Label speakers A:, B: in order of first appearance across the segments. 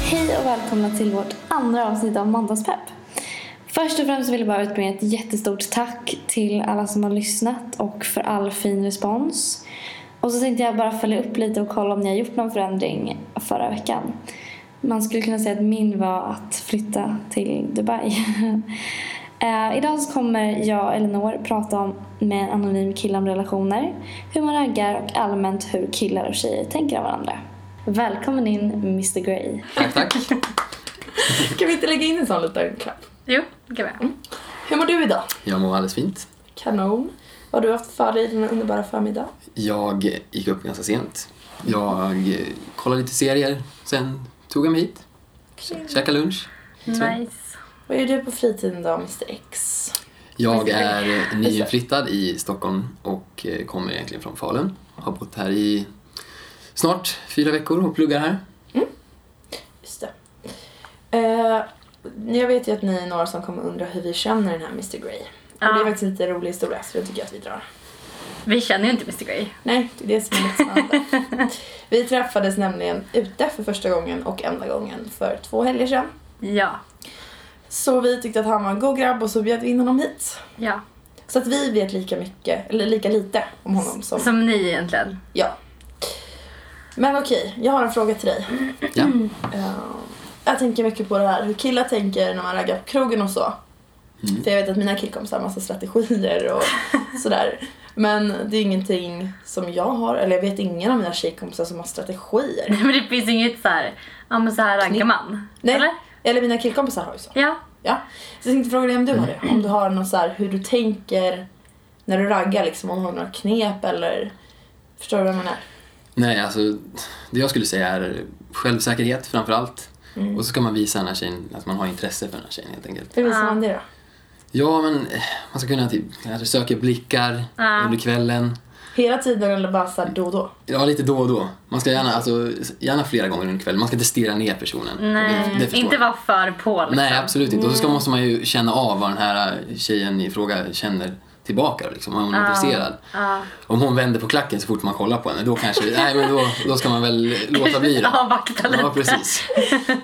A: Hej och välkomna till vårt andra avsnitt av Måndagspepp. Först och främst vill jag bara utbringa ett jättestort tack till alla som har lyssnat och för all fin respons. Och så tänkte jag bara följa upp lite och kolla om ni har gjort någon förändring förra veckan. Man skulle kunna säga att min var att flytta till Dubai. Eh, idag så kommer jag, Elinor, prata om med en anonym kille om relationer, hur man raggar och allmänt hur killar och tjejer tänker om varandra. Välkommen in Mr Grey.
B: Tack, tack.
C: Kan vi inte lägga in en sån liten klapp?
D: Jo, det kan
B: Mm,
D: vi.
C: Hur mår du idag?
B: Jag mår alldeles fint.
C: Kanon. Vad har du haft för dig den underbara förmiddag?
B: Jag gick upp ganska sent. Jag eh, kollade lite serier, sen tog jag mig hit, kä- käkade lunch.
D: Nice.
C: Vad gör du på fritiden då, Mr X?
B: Jag är eh, nyinflyttad i Stockholm och eh, kommer egentligen från Falun. Har bott här i snart fyra veckor och pluggar här.
C: Just det. Eh, jag vet ju att ni är några som kommer undra hur vi känner den här Mr Grey. Och
D: Ja.
C: det är faktiskt en lite rolig historia så den tycker jag att vi drar.
D: Vi känner ju inte Mr Grey.
C: Nej, det är det som är lite spännande. vi träffades nämligen ute för första gången och enda gången för två helger sedan.
D: Ja.
C: Så vi tyckte att han var en god grabb och så bjöd vi in honom hit.
D: Ja.
C: Så att vi vet lika mycket, eller lika lite om honom som
D: Som ni egentligen.
C: Ja. Men okej, jag har en fråga till dig.
B: Ja.
C: Eh, jag tänker mycket på det här hur killar tänker när man raggar på krogen och så.
B: Mm.
C: För jag vet att mina killkompisar har massa strategier och sådär. Men det är ingenting som jag har, eller jag vet ingen av mina tjejkompisar som har strategier.
D: Nej men det finns inget så här, ja men så här raggar man.
C: Nej,
D: Eller?
C: eller mina killkompisar har ju så.
D: Ja.
C: Ja. Så jag tänkte fråga dig om du har det. Om du har någon så här hur du tänker när du raggar liksom. Om du har några knep eller... Förstår du vad jag menar?
B: Nej, alltså det jag skulle säga är självsäkerhet framför allt. Och så ska man visa den här tjejen att man har intresse för den här tjejen helt enkelt.
C: Hur visar
D: Ja.
C: man det då?
B: Ja, men eh, man ska kunna typ kanske söka blickar
D: Ja.
B: under kvällen.
C: Hela tiden eller bara så här då och då?
B: Ja, lite då och då. Man ska gärna, alltså, gärna flera gånger under kvällen. Man ska inte stirra ner personen.
D: Nej.
B: Det- det förstår
D: inte
B: jag.
D: vara för på liksom.
B: Nej, absolut inte. Och så ska, måste man ju känna av vad den här eh, tjejen i fråga känner tillbaka. Liksom, om hon är
D: Ja.
B: intresserad.
D: Ja.
B: Om hon vänder på klacken så fort man kollar på henne, då kanske... nej, men då, då ska man väl låta bli det.
D: Avvakta lite.
B: Ja, precis.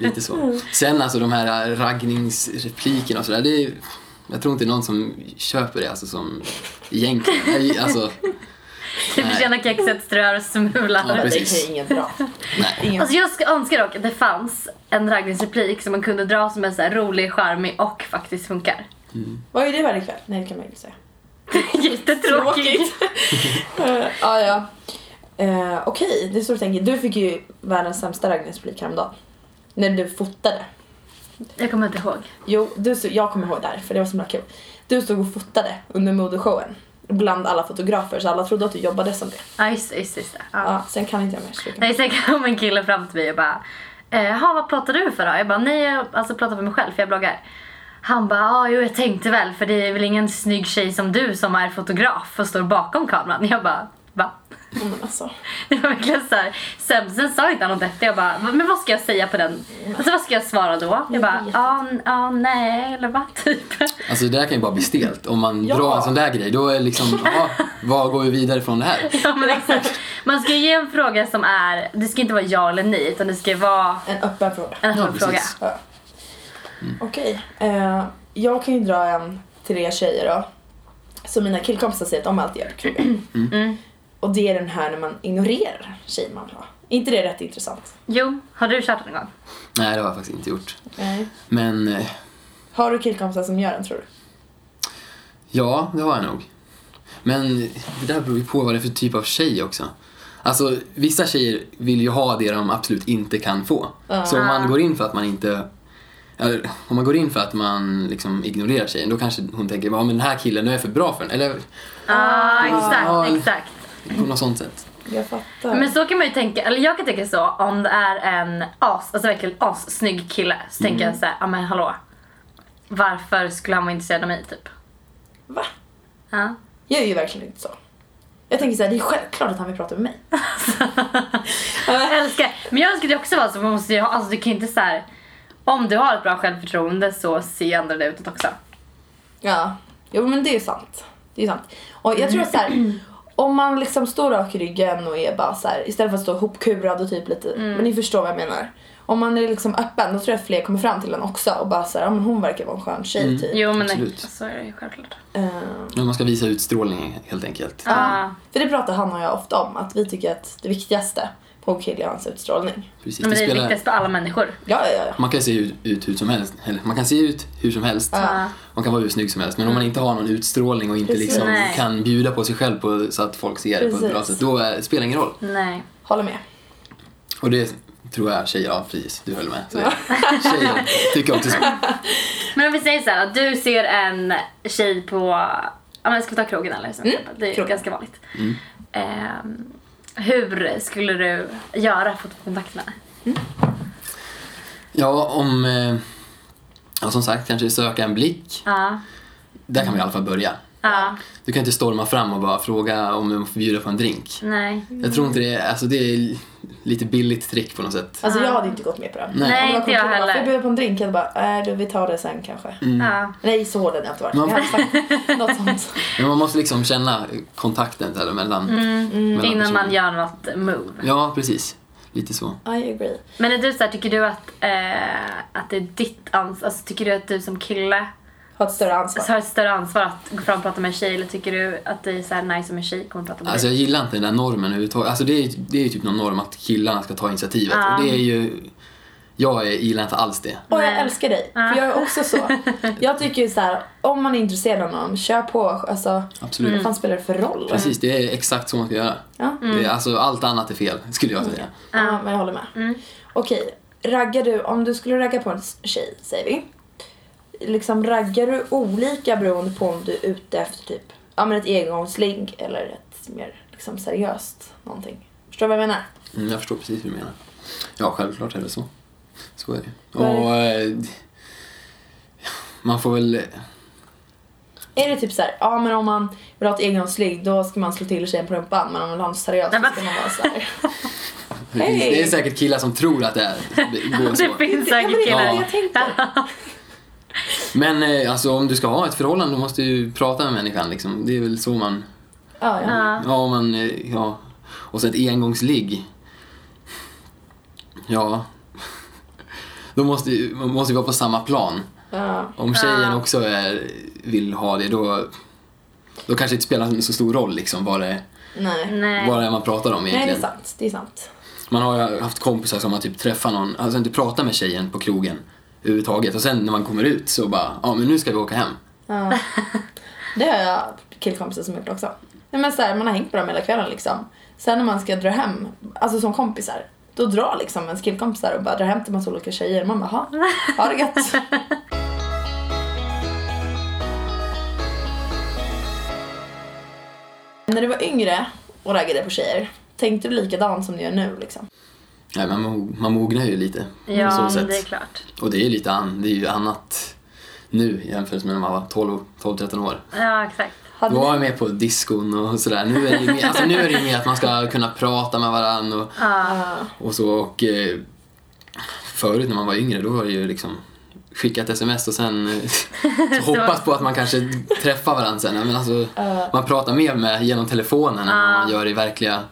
B: Lite så. Sen alltså de här raggningsreplikerna och sådär. Det är, jag tror inte det är någon som köper det alltså som egentligen. Nej, Alltså,
D: Du förtjänar kexet, strör och smular.
B: Ja, precis.
C: Det är ju inget bra.
B: nej.
C: Ingen...
D: Alltså jag ska, önskar dock att det fanns en raggningsreplik som man kunde dra som är så här rolig, charmig och faktiskt funkar.
C: Vad är det varje kväll? Nej, det kan man ju inte säga.
D: Jättetråkigt.
C: Eh, ah, ja. Eh, Okej, det är så du tänker. Du fick ju världens sämsta raggningsreplik häromdagen. När du fotade.
D: Jag kommer inte ihåg.
C: Jo, du, stod- jag kommer ihåg där, för det var så himla kul. Du stod och fotade under modeshowen. Bland alla fotografer, så alla trodde att du jobbade som det.
D: Ja, just det, just det, just det. Ja.
C: Ja, sen kan inte jag mer. så det kan-
D: Nej, sen kom en kille fram till mig och bara Jaha, vad pratar du för då? Jag bara, nej jag alltså, pratar för mig själv för jag bloggar. Han bara, ja jo jag tänkte väl för det är väl ingen snygg tjej som du som är fotograf och står bakom kameran. Jag bara, va?
C: Ja, Men alltså.
D: Det var verkligen såhär, sen, sen sa inte han något efter. Jag bara, "Va- men vad ska jag säga på den? Alltså vad ska jag svara då? Jag bara, ja, n- ja nej eller vad typ.
B: Alltså det där kan ju bara bli stelt. Om man
C: Ja.
B: drar en sån där grej, då är det liksom, ja, vad går vi vidare från det här?
D: Ja, men exakt. Man ska ge en fråga som är, det ska inte vara ja eller nej utan det ska vara
C: En öppen fråga.
D: en
B: Ja,
D: öppen fråga.
B: precis.
C: Ja. Okej. eh, jag kan ju dra en till er tjejer då. Som mina killkompisar säger att de alltid gör på krogen. Och det är den här när man ignorerar tjejer man vill ha. Är inte det rätt intressant?
D: Jo, har du kört någon gång?
B: Nej, det har jag faktiskt inte gjort.
C: Nej.
B: Men eh,
C: Har du killkompisar som gör den tror du?
B: ja, det har jag nog. Men det där beror ju på vad det är för typ av tjej också. Alltså vissa tjejer vill ju ha det de absolut inte kan få. Så om man går in för att man inte eller, om man går in för att man liksom ignorerar tjejen då kanske hon tänker ja men den här killen, nu är jag för bra för den. Eller
D: Ja,
B: Ja.
D: Ah, exakt, exakt.
B: på något sånt sätt.
C: Jag fattar.
D: Men så kan man ju tänka, eller jag kan tänka så om det är en as, alltså verkligen assnygg kille så tänker jag så här, ja men hallå. Varför skulle han vara intresserad av mig typ?
C: Va?
D: Ja.
C: Jag är ju verkligen inte så. Jag tänker såhär, det är självklart att han vill prata med mig. Ja,
D: Jag älskar, men jag önskar det också vara så, man måste ju ha, alltså du kan ju inte så här. Om du har ett bra självförtroende så ser andra det utåt också. Mm.
C: Ja, jo men det är sant. Det är sant. Och jag tror att så här, om man liksom står rak i ryggen och är bara så här, istället för att stå hopkurad och typ lite,
D: Mm.
C: men ni förstår vad jag menar. Om man är liksom öppen då tror jag att fler kommer fram till en också och bara såhär, ja men hon verkar vara en skön tjej typ.
D: Jo men nej,
B: Absolut.
D: så är det ju självklart.
C: Ehm,
B: Men man ska visa utstrålning helt enkelt.
D: Ja.
C: för det pratar han och jag ofta om, att vi tycker att det viktigaste på en kille är hans utstrålning.
B: Precis.
D: Men det är
B: spelar-
D: viktigast för alla människor.
C: Ja, ja, ja.
B: Man kan se ut, ut hur som helst. Eller, man kan se ut hur som helst.
D: Ja.
B: Man kan vara hur snygg som helst. Men om man inte har någon utstrålning och inte
C: Precis.
B: liksom
D: Nej.
B: kan bjuda på sig själv på, så att folk ser det på ett bra
C: Precis.
B: sätt, då är, spelar det ingen roll.
D: Nej.
C: Håller med.
B: Och det tror jag tjejer, ja precis, du höll med. Så det, tjejer tycker också så.
D: Men om vi säger så här, att du ser en tjej på, ja men ska vi ta krogen eller? Som exempel? Det är
C: krogen.
D: ganska vanligt. Ehm, hur skulle du göra för att få kontakt med henne?
B: Ja, om... Eh, ja, som sagt, kanske söka en blick.
D: Ja.
B: Där kan man i alla fall börja.
D: Ja.
B: Du kan inte storma fram och bara fråga om de får bjuda på en drink.
D: Nej.
B: Jag tror inte det är... Alltså det är lite billigt trick på något sätt.
C: Alltså jag hade inte gått med på det.
B: Nej.
D: Nej, inte jag heller.
C: Jag bjöd på en drink, jag hade bara, nej du vi tar det sen kanske.
D: Ja.
C: Nej så hård hade jag inte varit.
B: Man-
C: Jag hade sagt något sånt.
B: Men man måste liksom känna kontakten där mellan...
D: Mm.
B: mellan
D: Innan man
B: personerna.
D: gör något move.
B: Ja, precis. Lite så.
C: I agree.
D: Men är du så här, tycker du att, eh, att det är ditt ansvar, alltså tycker du att du som kille
C: Ha ett större ansvar.
D: har ett större ansvar att gå fram och prata med en tjej eller tycker du att det är så här nice om en tjej kommer och pratar med
B: Alltså
D: dig?
B: jag gillar inte den där normen överhuvudtaget. Alltså det är ju det är ju typ någon norm att killarna ska ta initiativet.
D: Ja.
B: Och
C: Ah.
B: det är ju... Jag är- gillar inte alls det.
C: Och jag
D: Nej.
C: älskar dig, för jag är också så. Jag tycker ju så här, om man är intresserad av någon, kör på. Alltså,
B: Absolut.
D: Mm.
C: vad fan spelar det för roll?
B: Precis, det är exakt så man ska göra.
C: Ja.
B: Det är, alltså allt annat är fel, skulle jag
C: Mm.
B: säga.
C: Ja, men jag håller med.
D: Mm.
C: Okej, raggar du, om du skulle ragga på en s- tjej, säger vi. Liksom raggar du olika beroende på om du är ute efter typ, ja men ett engångsligg eller ett mer liksom seriöst någonting. Förstår du vad jag menar?
B: Mm, jag förstår precis hur du menar. Ja, självklart är det så. Så är det
C: Vad är det?
B: Och... eh, Man får väl...
C: Är det typ så här, ja men om man vill ha ett engångsligg då ska man slå till tjejen på rumpan men om man vill ha något seriöst
D: Nej,
C: så
D: men-
C: ska man vara så här. Hej!
B: Det är säkert killar som tror att det är, går så.
D: Det finns
C: Ja, men det
D: säkert
C: är
D: killar.
C: det
B: Ja.
C: jag tänker.
B: Men eh, alltså om du ska ha ett förhållande då måste du ju prata med människan liksom. Det är väl så man...
C: Ja, ja.
D: Ja.
B: Ja, men eh, ja. Och så ett engångsligg. Ja. Då måste ju- man måste ju vara på samma plan.
C: ja.
B: Om tjejen också är, vill ha det då, då kanske det inte spelar så stor roll liksom vad det,
C: Mm. Nej.
D: Nej.
B: vad det är man pratar om
C: Nej, det
B: egentligen.
C: är sant. Det är sant.
B: man har ju haft kompisar som har typ träffat någon, alltså inte pratat med tjejen på krogen överhuvudtaget och sen när man kommer ut så bara, ja men nu ska vi åka hem.
C: Ja. Det har jag killkompisar som gjort också. Nej, men så här, man har hängt på dem hela kvällen liksom. Sen när man ska dra hem, alltså som kompisar, då drar liksom ens killkompisar och bara drar hem till massa olika tjejer. Man bara, ha, ha det gött. när du var yngre och raggade på tjejer, tänkte du likadant som du gör nu liksom?
B: Nej, man, mo- man mognar ju lite på
D: Ja,
B: så
D: men
B: sätt.
D: det är klart.
B: Och det är ju lite an, det är ju annat nu jämfört med när man var 12 12-13 år.
D: Ja, exakt.
C: Hade
B: Då var
C: ni,
B: jag med på diskon och sådär. Nu är det ju mer, alltså, nu är det ju mer att man ska kunna prata med varandra och,
C: Ja,
B: och så. Och, eh, förut när man var yngre då var det ju liksom skicka ett sms och sen eh, så hoppas på att man kanske träffar varandra sen. Men alltså, man pratar mer med genom telefonen än vad man gör i verkliga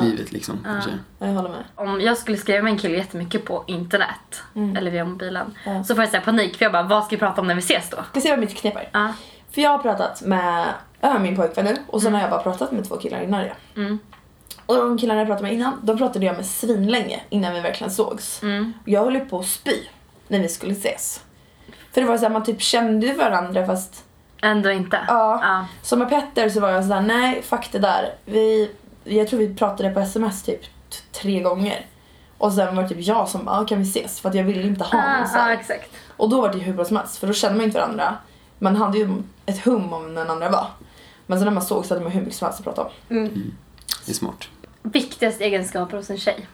B: livet. Liksom, kanske.
C: jag håller med.
D: Om jag skulle skriva med en kille jättemycket på internet, eller via mobilen,
C: Mm. Ja.
D: så får jag säga panik för jag bara, vad ska vi prata om när vi ses då?
C: Ska se vad mitt knep är.
D: Ja.
C: För jag har pratat med äh, min pojkvän nu och sen har jag bara pratat med två killar innan det.
D: Mm.
C: Och de killarna jag pratade med innan, de pratade jag med svinlänge innan vi verkligen sågs.
D: Mm.
C: Jag höll ju på att spy när vi skulle ses. För det var så här, man typ kände ju varandra fast
D: Ändå inte.
C: ja.
D: Ja.
C: Så med Petter så var jag sådär, nej fuck det där. Vi, jag tror vi pratade på sms typ t- tre gånger. Och sen var det typ jag som bara, ah, kan vi ses? För att jag ville inte ha
D: Ja,
C: någon så här.
D: Ah, ja, exakt.
C: Och då var det ju hur bra som helst för då kände man inte varandra. Man hade ju ett hum om den andra var. Men sen när man såg så hade man hur mycket som helst att prata om.
B: Det är smart.
D: Viktigaste egenskaper hos en tjej.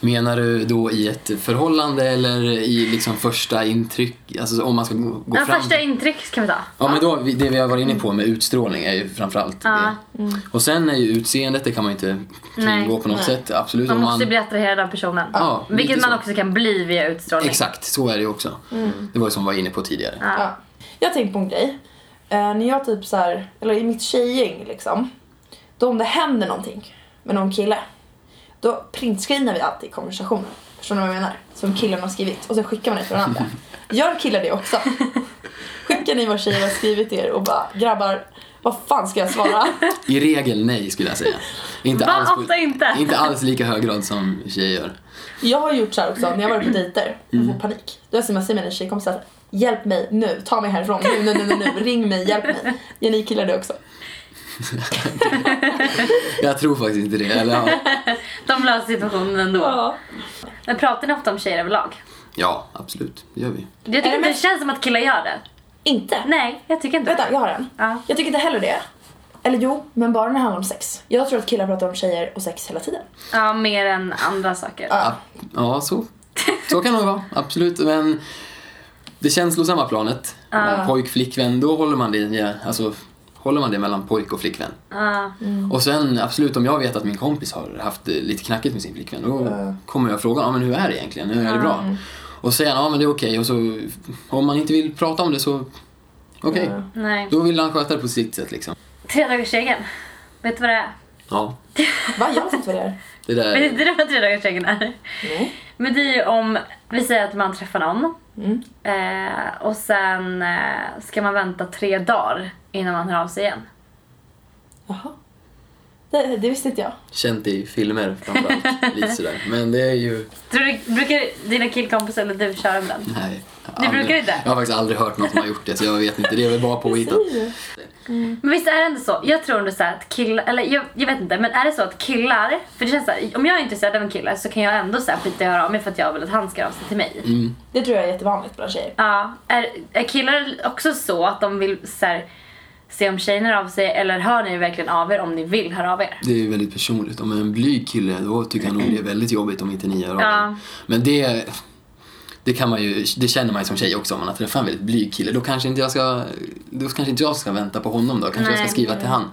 B: Menar du då i ett förhållande eller i liksom första intryck? Alltså om man ska gå, gå
D: Ja,
B: fram?
D: första intryck kan vi ta.
B: Ja men då, det vi har varit inne på med utstrålning är ju framförallt
D: Ja. mm.
B: det. Och sen är ju utseendet, det kan man ju inte kringgå
D: Nej.
B: på något sätt. Absolut.
D: Man
B: om
D: måste bli attraherad av personen.
B: Ja,
D: Vilket
B: lite
D: man
B: så.
D: också kan bli via utstrålning. Mm.
B: Exakt, så är det ju också. Det var ju som vi var inne på tidigare.
C: Ja. Jag har tänkt på en grej. eh, när jag typ så här, eller i mitt tjejgäng liksom, då om det händer någonting med någon kille, då printscreenar vi alltid konversationen. Förstår ni vad jag menar? Som killen har skrivit och sen skickar man det till den andra. Gör killar det också? Skickar ni vad tjejer har skrivit till er och bara grabbar, vad fan ska jag svara?
B: I regel nej skulle jag säga. Inte
D: Va?
B: alls,
D: Ofta inte.
B: inte alls lika hög grad som tjejer gör.
C: Jag har gjort så här också när jag varit på dejter och får panik. Då smsar jag mina tjejkompisar så här, Hjälp mig nu, ta mig härifrån, nu, nu, nu, nu, nu. ring mig, hjälp mig. Gör ni killar det också?
B: Jag tror faktiskt inte det. Eller, ja.
D: De löser situationen ändå.
C: Ja.
D: Men pratar ni ofta om tjejer överlag?
B: ja, absolut. Det gör vi.
D: Jag tycker
C: det
D: inte det
C: mest-
D: känns som att killar gör det.
C: Inte?
D: Nej, jag tycker inte
C: Vänta,
D: det.
C: jag har en.
D: Ja.
C: Jag tycker inte heller det. Eller jo, men bara när det handlar om sex. Jag tror att killar pratar om tjejer och sex hela tiden.
D: Ja, mer än andra saker.
C: Ja.
B: Ja, så, så kan det nog vara. Absolut. Men det känslosamma planet, pojk, flickvän, då håller man det, ja, alltså, håller man det mellan pojk och flickvän.
D: Ja.
B: Och sen absolut, om jag vet att min kompis har haft det lite knackigt med sin flickvän, då kommer jag fråga, ja men hur är det egentligen? Hur är det bra? Och säger han, ja men det är okej. Och så, om man inte vill prata om det så, okej.
D: Nej.
B: Då vill han sköta det på sitt sätt liksom.
D: Tredagarsregeln. Vet du vad det är?
B: Ja.
C: Va? Jag vet inte vad det är.
B: Det där,
D: Vet inte du vad tredagarsregeln är?
C: Nej.
D: Men det är ju om, vi säger att man träffar någon
C: Mm.
D: eh, och sen eh, ska man vänta tre dagar innan man hör av sig igen.
C: Jaha. Det, det visste inte jag.
B: känt i filmer framförallt. Lite sådär. Men det är ju...
D: Tror du, brukar dina killkompisar eller du köra med den?
B: Nej.
D: Ni
B: aldrig.
D: brukar inte?
B: Jag har faktiskt aldrig hört någon som har gjort det så jag vet inte. Det är väl bara påhittat.
D: Men visst är det ändå så? Jag tror ändå så här att killar, eller jag, jag vet inte, men är det så att killar, för det känns så här, om jag är intresserad av en kille så kan jag ändå så här skita i att höra av mig för att jag vill att han ska höra av sig till mig.
C: Det tror jag är jättevanligt bland tjejer.
D: Ja, är, är killar också så att de vill så här, se om tjejen hör av sig eller hör ni verkligen av er om ni vill höra av er?
B: Det är ju väldigt personligt. Om jag är en blyg kille då tycker jag nog det är väldigt jobbigt om inte ni gör av
D: Ja.
B: det. Men det, det kan man ju, det känner man ju som tjej också om man har träffat en väldigt blyg kille. Då kanske inte jag ska, då kanske inte jag ska vänta på honom då. Kanske jag
D: Nej. Mm.
B: ska skriva till han.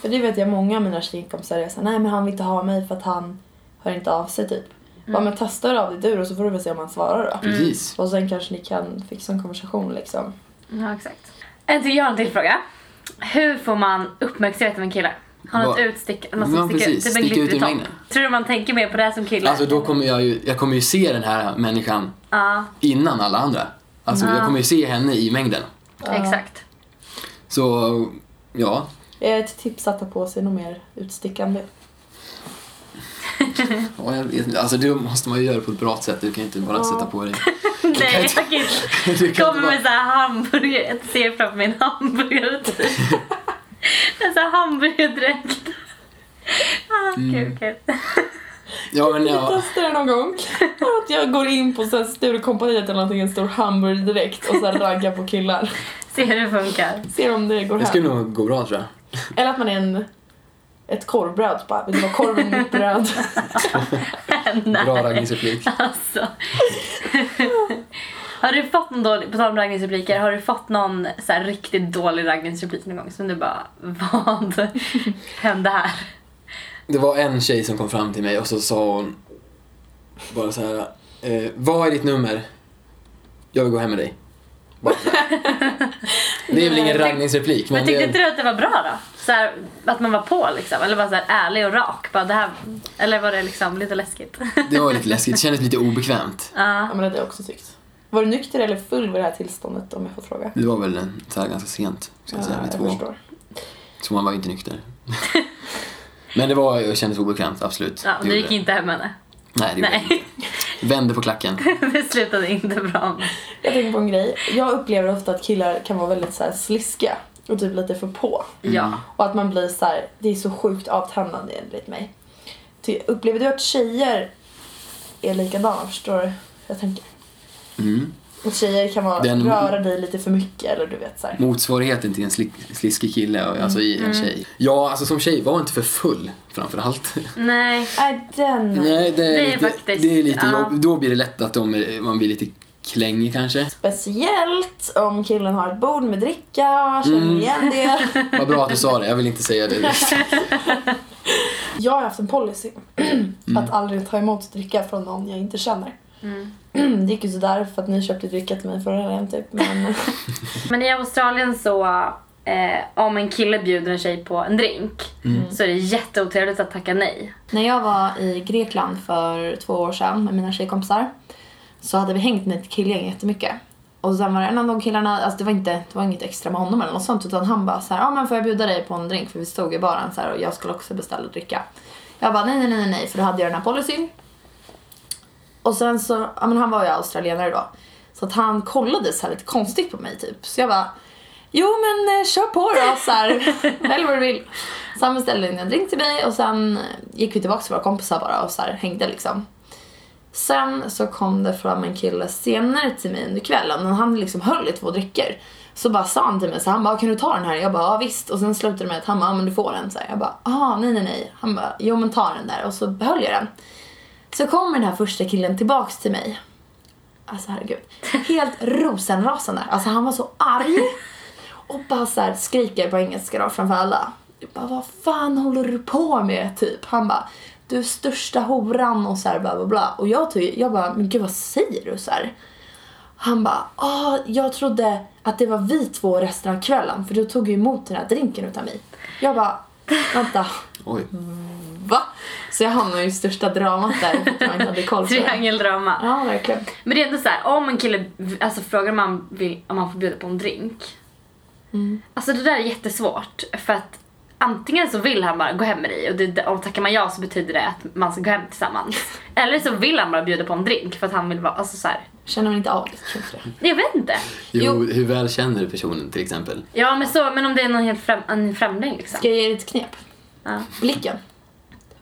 C: För det vet jag många av mina tjejkompisar är såhär, nej men han vill inte ha mig för att han hör inte av sig typ.
B: Mm.
C: Bara men testa hör av dig du då så får du väl se om han svarar då.
B: Precis.
C: Och sen kanske ni kan fixa en konversation liksom.
D: Ja, exakt. En till, jag har en till fråga. Hur får man uppmärksamhet av en kille? Har något
B: Vad-
D: utstick, något
B: Ja,
D: som sticker ut?
B: precis.
D: Typ en
B: Sticka ut i
D: glittrig topp.
B: mängden.
D: Tror du man tänker mer på det som kille?
B: Alltså då kommer jag ju, jag kommer ju se den här människan
D: Ja,
B: innan alla andra. Alltså jag kommer ju se henne i mängden.
D: exakt.
B: Så, ja.
C: Är ett tips att ta på sig något mer utstickande?
B: ja jag vet, inte. alltså det måste man ju göra på ett bra sätt. Du kan ju inte bara sätta på dig.
D: Nej, jag kan inte.
B: Du kan inte
D: kommer
B: bara-
D: med så här hamburgare, jag ser framför mig en hamburgare typ. En sån här hamburgardräkt. Ah,
B: Mm.
D: kul, kul.
B: Ja, men
C: Vi
B: ja.
C: testar det någon gång. Att jag går in på så här Sturecompagniet eller någonting, en stor hamburgare direkt och så här raggar på killar.
D: Se hur det funkar.
C: Ser om det går
B: Det
C: hem.
B: skulle nog gå bra tror jag.
C: Eller att man är en, ett korvbröd bara, vill du ha korv med mitt bröd?
D: Nej.
B: Bra raggningsreplik.
D: Alltså. har du fått någon dålig, på tal om raggningsrepliker, har du fått någon så här riktigt dålig raggningsreplik någon gång som du bara, vad hände här?
B: Det var en tjej som kom fram till mig och så sa hon bara så här. Eh, vad är ditt nummer? Jag vill gå hem med dig. Bara så här. Det är väl ingen raggningsreplik men
D: Men tyckte inte
B: det,
D: du att det var bra då? Så här, att man var på liksom, eller var så här ärlig och rak? Bara, det här, eller var det liksom lite läskigt?
B: det var lite läskigt. Det kändes lite obekvämt.
D: Ja.
C: Ja men det hade jag också tyckt. Var du nykter eller full vid det här tillståndet om jag får fråga?
B: Det var väl en, så här ganska sent, ska jag säga, vid två.
C: förstår.
B: Så man var ju inte nykter. men det var, det kändes obekvämt, absolut.
D: Ja,
B: Det
D: du
B: gjorde
D: gick
B: det.
D: inte hem med henne?
B: Nej, det gjorde jag
D: Nej,
B: inte. Vände på klacken.
D: det slutade inte bra.
C: Jag tänker på en grej. Jag upplever ofta att killar kan vara väldigt så här sliskiga och typ lite för på.
D: Ja.
C: Och att man blir så här, det är så sjukt avtändande enligt mig. Ty, upplever du att tjejer är likadana? Förstår du? Jag tänker.
B: Mm.
C: Att tjejer kan vara,
B: Den-
C: röra dig lite för mycket eller du vet så här.
B: motsvarigheten till en slick, sliskig kille, och- alltså i
D: Mm.
B: en tjej. Ja, alltså som tjej, var inte för full framförallt.
D: Nej.
C: Nej, den.
B: Nej, det är,
D: Det är
B: lite,
D: faktiskt-
B: det är lite
D: ja.
B: jobb. Då blir det lätt att de är, man blir lite klängig kanske.
C: Speciellt om killen har ett bord med dricka, känner
B: Mm.
C: igen det.
B: Vad bra att du sa det, jag vill inte säga det.
C: Jag har haft en policy att aldrig ta emot dricka från någon jag inte känner. Det gick ju sådär för att ni köpte dricka till mig förra helgen typ. Men
D: Men i Australien så, eh, om en kille bjuder en tjej på en drink
C: Mm.
D: så är det jätteotrevligt att tacka nej.
C: När jag var i Grekland för två år sedan med mina tjejkompisar så hade vi hängt med ett killgäng jättemycket. Och sen var det en av de killarna, alltså det var, inte, det var inget extra med honom eller något sånt utan han bara så här, ja ah, men får jag bjuda dig på en drink? För vi stod i baren så här och jag skulle också beställa och dricka. Jag bara nej, nej, nej, nej, nej, för då hade jag den här policyn. Och sen så, ja men han var ju australienare då. Så att han kollade så här lite konstigt på mig typ. Så jag bara, jo men eh, kör på då så här, välj vad du vill. Så han beställde in en drink till mig och sen eh, gick vi tillbaka till våra kompisar bara och så här hängde liksom. Sen så kom det fram en kille senare till mig under kvällen och han liksom höll i två drycker. Så bara sa han till mig så här, han bara kan du ta den här? Jag bara ja visst och sen slutade det med att han bara ja men du får den så här. Jag bara ah nej nej nej. Han bara jo men ta den där och så behöll jag den. Så kommer den här första killen tillbaks till mig. Alltså herregud. Helt rosenrasande. Alltså han var så arg. Och bara så här skriker på engelska då framför alla. Jag bara, vad fan håller du på med? Typ. Han bara, du är största horan och så här bla bla bla. Och jag, tyg, jag bara, men gud vad säger du? så här? Han bara, ah, jag trodde att det var vi två resten av kvällen för du tog ju emot den här drinken utan mig. Jag bara, vänta,
B: Oj.
C: va? Så jag hamnade i största dramat där för att jag inte hade koll på det.
D: Triangeldrama.
C: Ja, verkligen.
D: Men det är ändå så här, om en kille alltså, frågar om man, vill, om man får bjuda på en drink.
C: Mm.
D: Alltså det där är jättesvårt för att antingen så vill han bara gå hem med dig och, det, och tackar man ja så betyder det att man ska gå hem tillsammans. Eller så vill han bara bjuda på en drink för att han vill vara, alltså så här,
C: Känner man inte av det så kanske det.
D: jag vet inte.
B: Jo,
C: Jo.
B: hur väl känner du personen till exempel?
D: Ja men så, men om det är någon helt främ, en främling liksom.
C: Ska jag ge er ett knep?
D: Ja.
C: Blicken.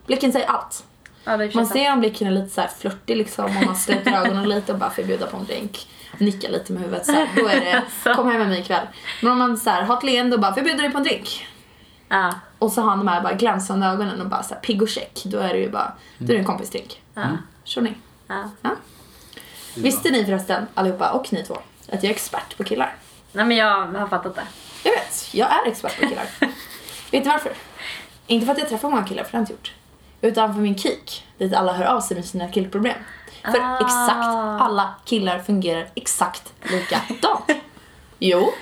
C: Blicken säger allt.
D: Ja, det är
C: Man
D: sant.
C: ser om blicken är lite så här flörtig liksom och man släpper ögonen lite och bara får bjuda på en drink. Nickar lite med huvudet så här. Då är det kom hem med mig ikväll. Men om man så här, har ett leende och bara får jag bjuda dig på en drink.
D: Ja.
C: Och så har han de här bara glänsande ögonen och bara så här pigg och check. Då är det ju bara, då är det en kompisdrink.
D: Ja.
C: Kör ni.
D: Ja.
C: Ja. Visste ni förresten allihopa och ni två att jag är expert på killar?
D: Nej men jag har fattat det.
C: Jag vet, jag är expert på killar. vet du varför? Inte för att jag träffar många killar, för det har jag inte gjort. Utan för min kik, dit alla hör av sig med sina killproblem. För
D: Ah.
C: exakt alla killar fungerar exakt likadant. jo,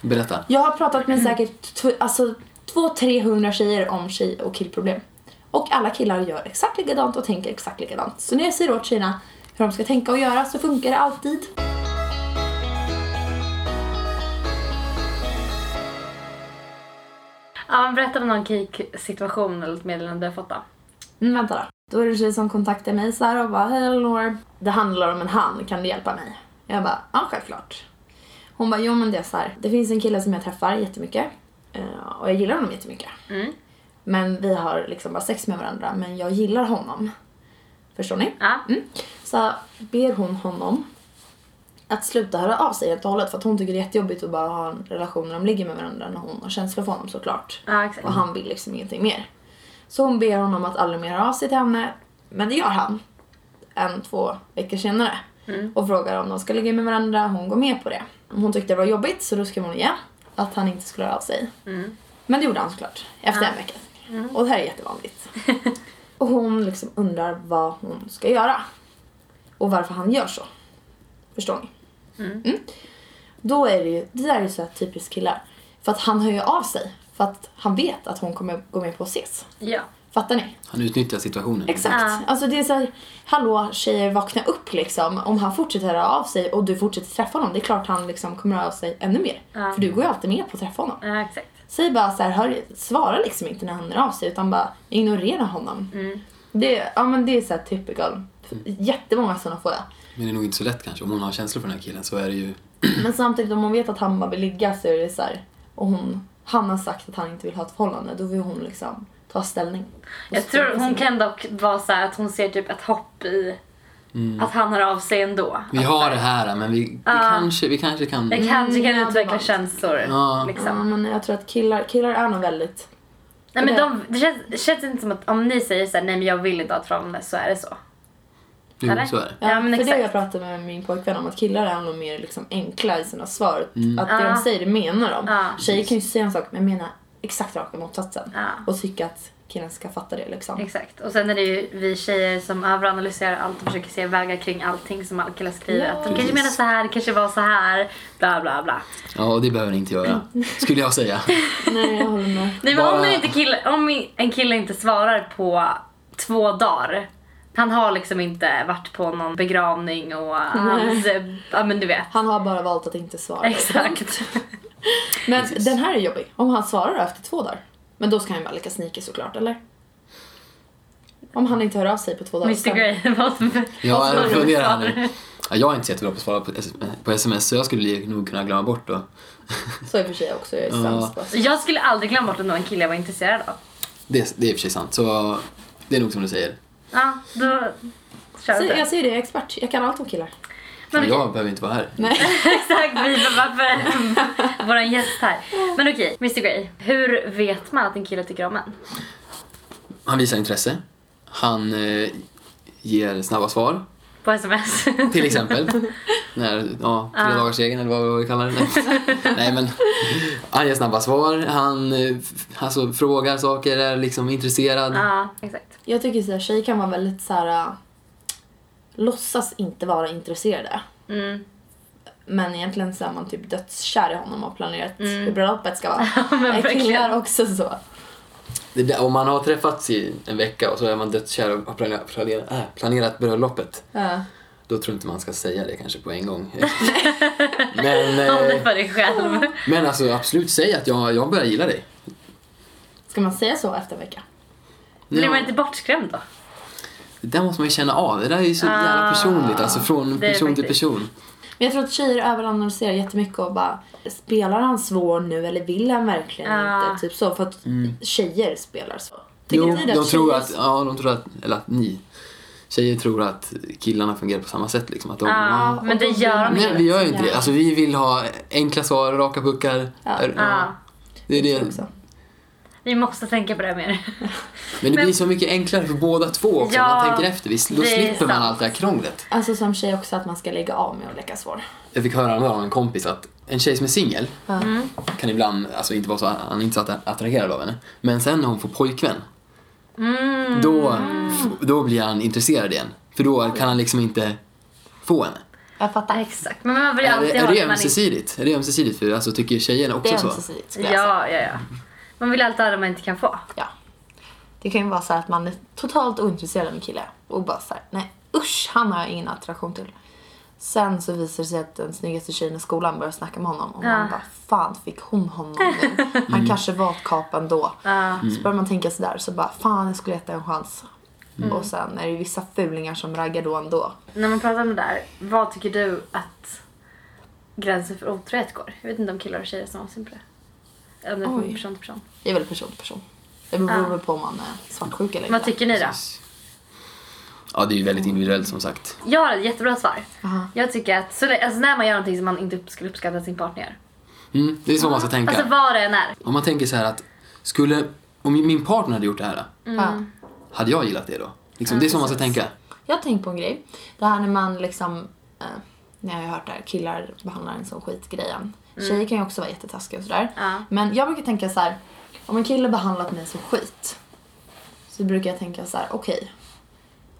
B: Berätta.
C: jag har pratat med säkert t- alltså, 200-300 tjejer om tjej och killproblem. Och alla killar gör exakt likadant och tänker exakt likadant. Så när jag säger åt tjejerna hur de ska tänka och göra så funkar det alltid.
D: Ja, men berätta om någon kick-situation eller ett meddelande du har fått då.
C: Mm, vänta då. Då är det en tjej som kontaktar mig så här och bara Hej Elinor, det handlar om en han, kan du hjälpa mig? Jag bara, ja självklart. Hon bara, jo men det är så här. Det finns en kille som jag träffar jättemycket eh, och jag gillar honom jättemycket.
D: Mm.
C: Men vi har liksom bara sex med varandra, men jag gillar honom. Förstår ni?
D: Ja.
C: Mm. Så ber hon honom att sluta höra av sig helt och hållet för att hon tycker det är jättejobbigt att bara ha en relation när de ligger med varandra när hon har känslor för honom såklart.
D: Ja, exakt.
C: Och han vill liksom ingenting mer. Så hon ber honom att aldrig mer höra av sig till henne. Men det gör han. En, två veckor senare. Och frågar om de ska ligga med varandra. Hon går med på det. Hon tyckte det var jobbigt så då skrev hon igen. Att han inte skulle höra av sig. Men det gjorde han såklart. Efter en vecka. Och det här är jättevanligt. och hon liksom undrar vad hon ska göra. Och varför han gör så. Förstår ni? Då är det ju, det där är ju så här typiskt killar. För att han hör ju av sig. För att han vet att hon kommer gå med på att ses.
D: Ja.
C: Fattar ni?
B: Han utnyttjar situationen.
C: Exakt.
D: Ja.
C: Alltså det är så här, hallå tjejer vakna upp liksom. Om han fortsätter höra av sig och du fortsätter träffa honom. Det är klart han liksom kommer höra av sig ännu mer.
D: Ja.
C: För du går ju alltid med på att träffa honom.
D: ja, exakt.
C: Säg bara så här, hör, svara liksom inte när han hör av sig utan bara ignorera honom.
D: Mm.
C: Det, ja men det är så här typical. Jättemånga sådana får jag.
B: Men det är nog inte så lätt kanske. Om hon har känslor för den här killen så är det ju...
C: Men samtidigt om hon vet att han bara vill ligga så är det så här, och hon, han har sagt att han inte vill ha ett förhållande, då vill hon liksom ta ställning.
D: Jag tror hon kan dock vara så här att hon ser typ ett hopp i
C: Mm.
D: att han hör av sig ändå.
B: Vi har det här men vi, vi, kanske, vi kanske kan...
D: Jag kanske kan
C: Mm,
D: utveckla
C: advanced.
D: känslor.
B: Ja.
C: Ja,
D: Liksom.
C: men jag tror att killar, killar är nog väldigt...
D: Nej, men de, det, känns, det känns inte som att om ni säger så här, nej men jag vill inte ha ett förhållande så är det så.
B: Jo,
D: Eller?
B: så är det.
D: Ja, men
C: för det har jag
D: exakt.
C: pratat med min pojkvän om att killar är nog mer liksom enkla i sina svar. Att det
D: Ja.
C: de säger, det menar de.
D: Ja.
C: Tjejer kan ju säga en sak men mena exakt raka motsatsen.
D: Ja.
C: Och tycka att killen ska fatta det liksom.
D: Exakt. Och sen är det ju vi tjejer som överanalyserar allt och försöker se vägar kring allting som alla killar skriver.
C: Ja.
D: Att de kanske
B: Precis.
D: menar så här, det kanske var så här, bla bla bla.
B: Ja, och det behöver ni inte göra.
D: Mm.
B: Skulle jag säga.
C: Nej, jag håller med.
D: Nej, men om,
B: Bara-
D: en inte kille, om en kille inte svarar på två dagar han har liksom inte varit på någon begravning och hans... Ja men du vet.
C: Han har bara valt att inte svara.
D: Exakt.
C: Men den här är jobbig. Om han svarar efter två dagar. Men då ska han ju vara lika sneaky såklart, eller? Om han inte hör av sig på två dagar.
D: Mr Grey. vad som- vad
B: Ja,
D: som
B: Alltså, jag
D: är
B: funderar här
D: svaret.
B: nu. Ja, jag är inte så jättebra på att svara på, S- på sms så jag skulle nog kunna glömma bort då.
C: Så i och för sig också, jag är
B: Ja.
C: sämst på.
D: Jag skulle aldrig glömma bort att någon kille jag var intresserad av.
B: Det, det är i och för sig sant. Så det är nog som du säger.
D: Ja, då kör
C: Så
D: vi.
C: jag säger det, jag är expert. Jag kan allt om killar.
D: Men
B: Men
D: okej.
B: jag behöver inte vara här.
D: Exakt, vi varför vår gäst här. Men okej, Mr Grey. Hur vet man att en kille tycker om en?
B: Han visar intresse. Han eh, ger snabba svar.
D: På sms?
B: Till exempel. När, ja, tre
D: Ah.
B: dagars regeln eller vad vi kallar det. Nej. Nej men. Han ger snabba svar. Han eh, f- alltså, frågar saker, är liksom intresserad.
D: ja, exakt.
C: Jag tycker så här, tjejer kan vara väldigt så här. äh, Låtsas inte vara intresserade.
D: Mm.
C: Men egentligen så är man typ dödskär i honom och planerat hur bröllopet ska vara.
D: Mm. men
C: är
D: verkligen.
C: killar också så?
B: Det där, om man har träffats i en vecka och så är man dödskär och har planerat, planerat, äh, planerat bröllopet.
C: Ja.
B: Då tror jag inte man ska säga det kanske på en gång. eh, men,
D: Håll dig
B: eh,
D: för dig själv.
B: men alltså absolut, säg att jag, jag börjar gilla dig.
C: Ska man säga så efter en vecka?
D: Blir
B: Ja.
D: man inte bortskrämd då?
B: Det där måste man ju känna av. Det där är ju så jävla
D: Ah,
B: personligt. Alltså från
D: det är
B: person till
D: faktiskt.
B: person.
C: Men jag tror att tjejer överanalyserar jättemycket och bara spelar han svår nu eller vill han verkligen
D: Ja.
C: inte? Typ så för att tjejer spelar så. Tycker
B: Mm. Jo,
C: ni det
B: de tror
C: tjejer-
B: att, ja, de tror att, eller att ni tjejer tror att killarna fungerar på samma sätt liksom. Att de,
D: Ja,
B: ja.
D: Ah, men det gör de
B: Nej, vi
D: ju.
B: gör ju inte det. Alltså vi vill ha enkla svar, raka puckar.
C: Ja.
B: Är-
D: Ja, Ah.
B: Det är
C: Jag tror
B: det.
C: också.
D: vi måste tänka på det mer.
B: Men det
D: Men-
B: blir så mycket enklare för båda två också
D: Ja,
B: om man tänker efter. Visst, då
D: det är
B: slipper man
D: sant.
B: allt det här krånglet.
C: Alltså som tjej också att man ska lägga av med att leka svår.
B: Jag fick höra häromdagen av en kompis att en tjej som är singel kan ibland alltså, inte vara så, han är inte så att- attraherad av henne. Men sen när hon får pojkvän, då, då blir han intresserad igen. För då kan han liksom inte få henne.
C: Jag fattar.
B: Typ
D: Exakt, men man vill ju
B: Är
D: alltid
B: det, är
D: ha
B: det
D: det man inte...
B: ömsesidigt? Är det ömsesidigt? För alltså, tycker tjejerna
E: Det
B: också
E: är
B: så?
E: ömsesidigt skulle jag säga.
B: alltså?
D: Ja, ja, ja. Man vill alltid ha det man inte kan få.
E: Ja. Det kan ju vara så här att man är totalt ointresserad av en kille och bara såhär, nej usch han har jag ingen attraktion till. Sen så visar det sig att den snyggaste tjejen i skolan börjar snacka med honom och man
D: Ja.
E: bara, fan fick hon honom nu? Han kanske var ett kap ändå. Så börjar man tänka sådär så bara, fan jag skulle gett det en chans. Och sen är det ju vissa fulingar som raggar då ändå.
D: När man pratar om det där, vad tycker du att gränsen för otrohet går? Jag vet inte om killar och tjejer är samma syn på det. Om det är från
E: Oj.
D: person till person.
E: Det är väl person till person. Det beror väl på om man är svartsjuk eller
D: Vad
E: inte.
D: tycker ni då?
B: Ja, det är ju väldigt individuellt som sagt.
D: Jag har ett jättebra svar.
E: Aha.
D: Jag tycker att så, lä- alltså när man gör någonting som man inte skulle uppskatta att sin partner gör.
B: Mm, det är så man ska tänka.
D: Alltså vad det än är.
B: Om man tänker så här att, skulle, om min partner hade gjort det här,
C: Mm.
E: Ja.
B: hade jag gillat det då? Liksom, det är så man ska tänka.
E: Jag har tänkt på en grej. Det här när man liksom... Eh, ni har ju hört det här, killar behandlar en som skitgrejen. Tjejer kan ju också vara jättetaskiga och sådär.
D: Mm. Ja.
E: Men jag brukar tänka så här. om en kille behandlat mig som skit. Så brukar jag tänka så här: okej.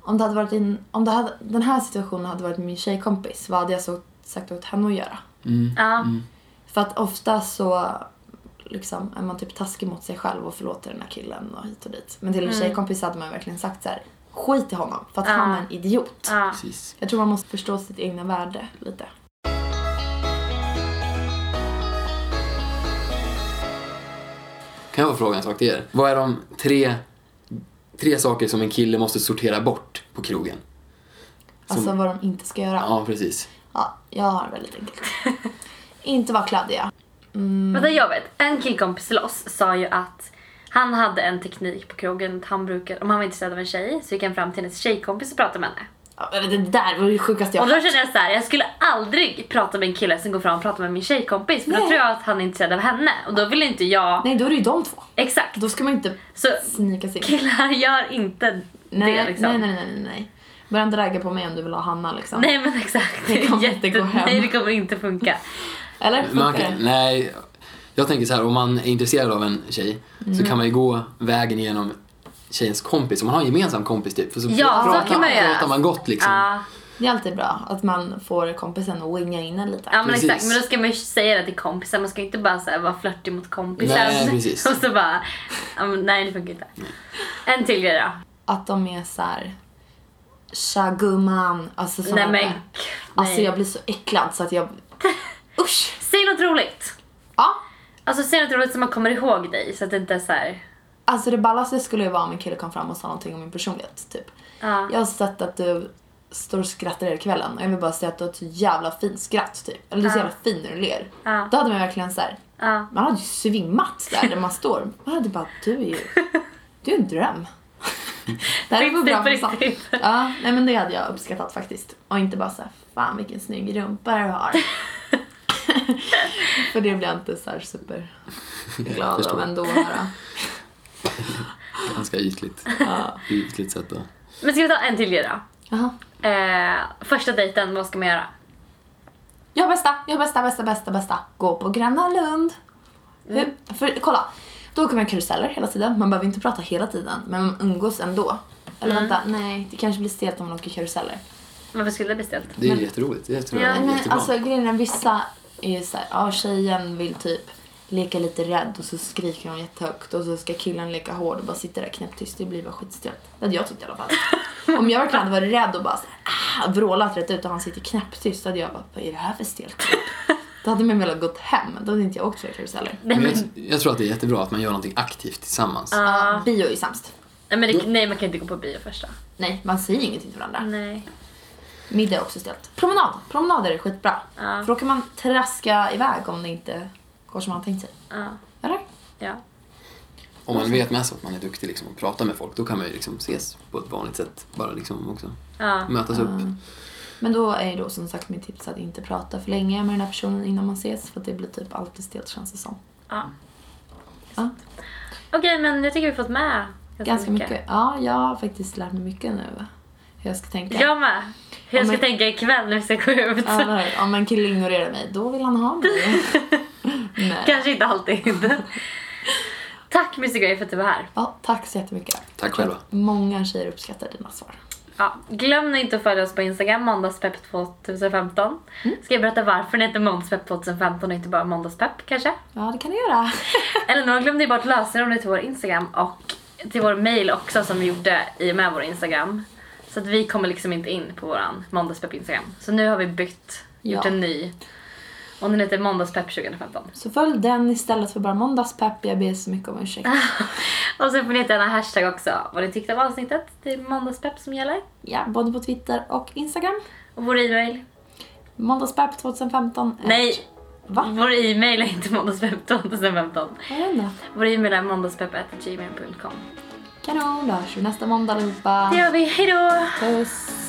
E: om det hade varit in, om det hade, den här situationen hade varit min tjejkompis, vad hade jag så sagt åt henne att göra?
B: Mm.
D: Ja.
E: För att ofta så liksom, är man typ taskig mot sig själv och förlåter den här killen och hit och dit. Men till en tjejkompis hade man verkligen sagt så här: skit i honom för att
D: Mm. Ja.
E: han är en idiot.
D: Ja.
B: Precis.
E: Jag tror man måste förstå sitt egna värde lite.
B: Kan jag få fråga en sak till er? Vad är de tre, tre saker som en kille måste sortera bort på krogen? Som-
E: Alltså vad de inte ska göra.
B: Ja, precis.
E: Ja, jag har det väldigt enkelt. inte vara kladdiga.
D: Men det jag vet, en killkompis till oss sa ju att han hade en teknik på krogen att han brukar, om han var intresserad av en tjej så gick han fram till hennes tjejkompis och pratade med henne.
E: Ja, men Det där var det sjukaste jag
D: Och
E: har
D: då
E: hört.
D: kände jag så här, jag skulle aldrig prata med en kille som går fram och pratar med min tjejkompis för då
E: Nej.
D: tror jag att han är intresserad av henne och då vill inte jag...
E: Nej, då är det ju de två.
D: Exakt.
E: Då ska man inte
D: Så
E: snika sig in.
D: killar gör inte
E: Nej,
D: det
E: nej,
D: liksom.
E: nej, nej, nej, nej. Börja inte ragga på mig om du vill ha Hanna liksom.
D: Nej men exakt.
E: Det kommer inte gå hem. Mm.
D: Nej det kommer inte funka.
E: Eller? Funkar
B: Man kan,
E: det?
D: Mm.
B: nej, jag tänker så här, om man är intresserad av en tjej så kan man ju gå vägen genom tjejens kompis, om man har en gemensam kompis typ. För så
D: Ja, så
B: pratar,
D: kan man göra.
B: pratar man gott liksom.
D: Ja,
C: Det är alltid bra att man får kompisen att winga in en lite.
D: ja men
B: Precis.
D: exakt. Men då ska man ju säga det till kompisar. Man ska ju inte bara så här, vara flörtig mot kompisar.
B: Nej, precis.
D: Och så bara, ja, men nej det funkar inte. En till grej då.
C: Att de är så här. Tja gumman. Alltså, såna
D: Nej men,
C: där.
D: nej.
C: alltså jag blir så äcklad så att jag... Usch!
D: Säg något roligt.
C: Ja.
D: Alltså säg något roligt så man kommer ihåg dig så att det inte är så här.
C: Alltså det ballaste skulle ju vara om en kille kom fram och sa någonting om min personlighet. Typ.
D: Ja.
C: Jag har sett att du står och skrattar hela kvällen och jag vill bara säga att du har ett så jävla fint skratt typ. Eller du är så
D: Ja.
C: jävla fin när du ler.
D: Ja.
C: Då hade man verkligen så här.
D: Ja.
C: man hade ju svimmat där, där man står. Man hade bara, du är ju, du är en dröm. det här var
D: Riktigt,
C: bra
D: på
C: för sant.
D: riktigt.
C: Ja, nej men det hade jag uppskattat faktiskt. Och inte bara såhär, fan vilken snygg rumpa du har. för det blir jag inte såhär superglad
B: Jag förstår.
C: av ändå att höra.
B: Ganska ytligt.
C: Ja.
B: Ytligt sätt att...
D: Men ska vi ta en till grej då?
C: Jaha.
D: Eh, första dejten, vad ska man göra?
C: Jag är bästa, jag är bästa, bästa, bästa, bästa. Gå på Gröna Lund. Hur- För, kolla, då åker man karuseller hela tiden. Man behöver inte prata hela tiden, men man umgås ändå. Eller vänta, nej, det kanske blir stelt om man åker karuseller.
D: Varför skulle det bli stelt?
B: Det är jätteroligt. Det tror jag
D: Ja,
B: är
C: Men
B: jättebra.
C: alltså grejen är vissa är så här, ja tjejen vill typ leka lite rädd och så skriker hon jättehögt och så ska killen leka hård och bara sitta där knäpptyst. Det blir bara skitstelt. Det hade jag tyckt i alla fall. Om jag verkligen hade varit rädd och bara så här, ah, vrålat rätt ut och han sitter knäpptyst, då hade jag bara, vad är det här för stelt? Då hade man väl gått hem. Då hade inte jag åkt flera karuseller.
B: Men jag, jag tror att det är jättebra att man gör någonting aktivt tillsammans.
C: Ja, bio är sämst.
D: Nej, men
B: Mm.
D: det, nej man kan inte gå på bio första.
C: Nej, man säger ingenting till varandra.
D: Nej.
C: Middag är också stelt. Promenad. Promenader är skitbra.
D: Ja.
C: För då kan man traska iväg om det inte går som man har tänkt sig.
D: Ja.
C: Eller?
D: ja.
B: Om man vet med sig att man är duktig liksom, och pratar med folk, då kan man ju liksom ses på ett vanligt sätt. Bara liksom också
D: ja.
B: mötas upp.
C: Men då är ju då som sagt mitt tips att inte prata för länge med den här personen innan man ses för att det blir typ alltid stelt känns det som.
D: ja.
C: Ja,
D: Okej men jag tycker vi fått med
C: ganska mycket. Ja, jag har faktiskt lärt mig mycket nu hur jag ska tänka.
D: Jag med. Hur jag
C: Ja,
D: ska
C: men-
D: tänka ikväll när vi ska gå ut.
C: Ja, eller hur? Om en kille ignorerar mig, då vill han ha mig. Nej.
D: Kanske inte alltid. Tack Mr Grey för att du var här.
C: Ja, tack så jättemycket.
B: Tack själva.
C: Många tjejer uppskattar dina svar.
D: Ja, glöm nu inte att följa oss på Instagram, måndagspepp2015. Ska jag berätta varför den heter måndagspepp2015 och inte bara måndagspepp kanske?
C: Ja, det kan du göra.
D: Elinor glömde ju bort lösenordet till vår Instagram och till vår mail också som vi gjorde i och med vår Instagram. Så att vi kommer liksom inte in på våran måndagspepp Instagram. Så nu har vi bytt, gjort
C: Ja.
D: en ny. Och den heter måndagspepp 2015.
C: Så följ den istället för bara måndagspepp. Jag ber så mycket om ursäkt.
D: Ah. Och sen får ni jättegärna hashtag också vad ni tyckte av avsnittet. Det är måndagspepp som gäller.
C: Ja, både på Twitter och Instagram.
D: Och vår e-mail.
C: Måndagspepp 2015.
D: Nej,
C: Va?
D: vår e-mail är inte måndagspepp 2015.
C: Vad är det då?
D: Vår e-mail är måndagspepp.gmail.com.
C: Kanon, då hörs vi nästa måndag allihopa.
D: Det gör vi, hejdå!
C: Puss.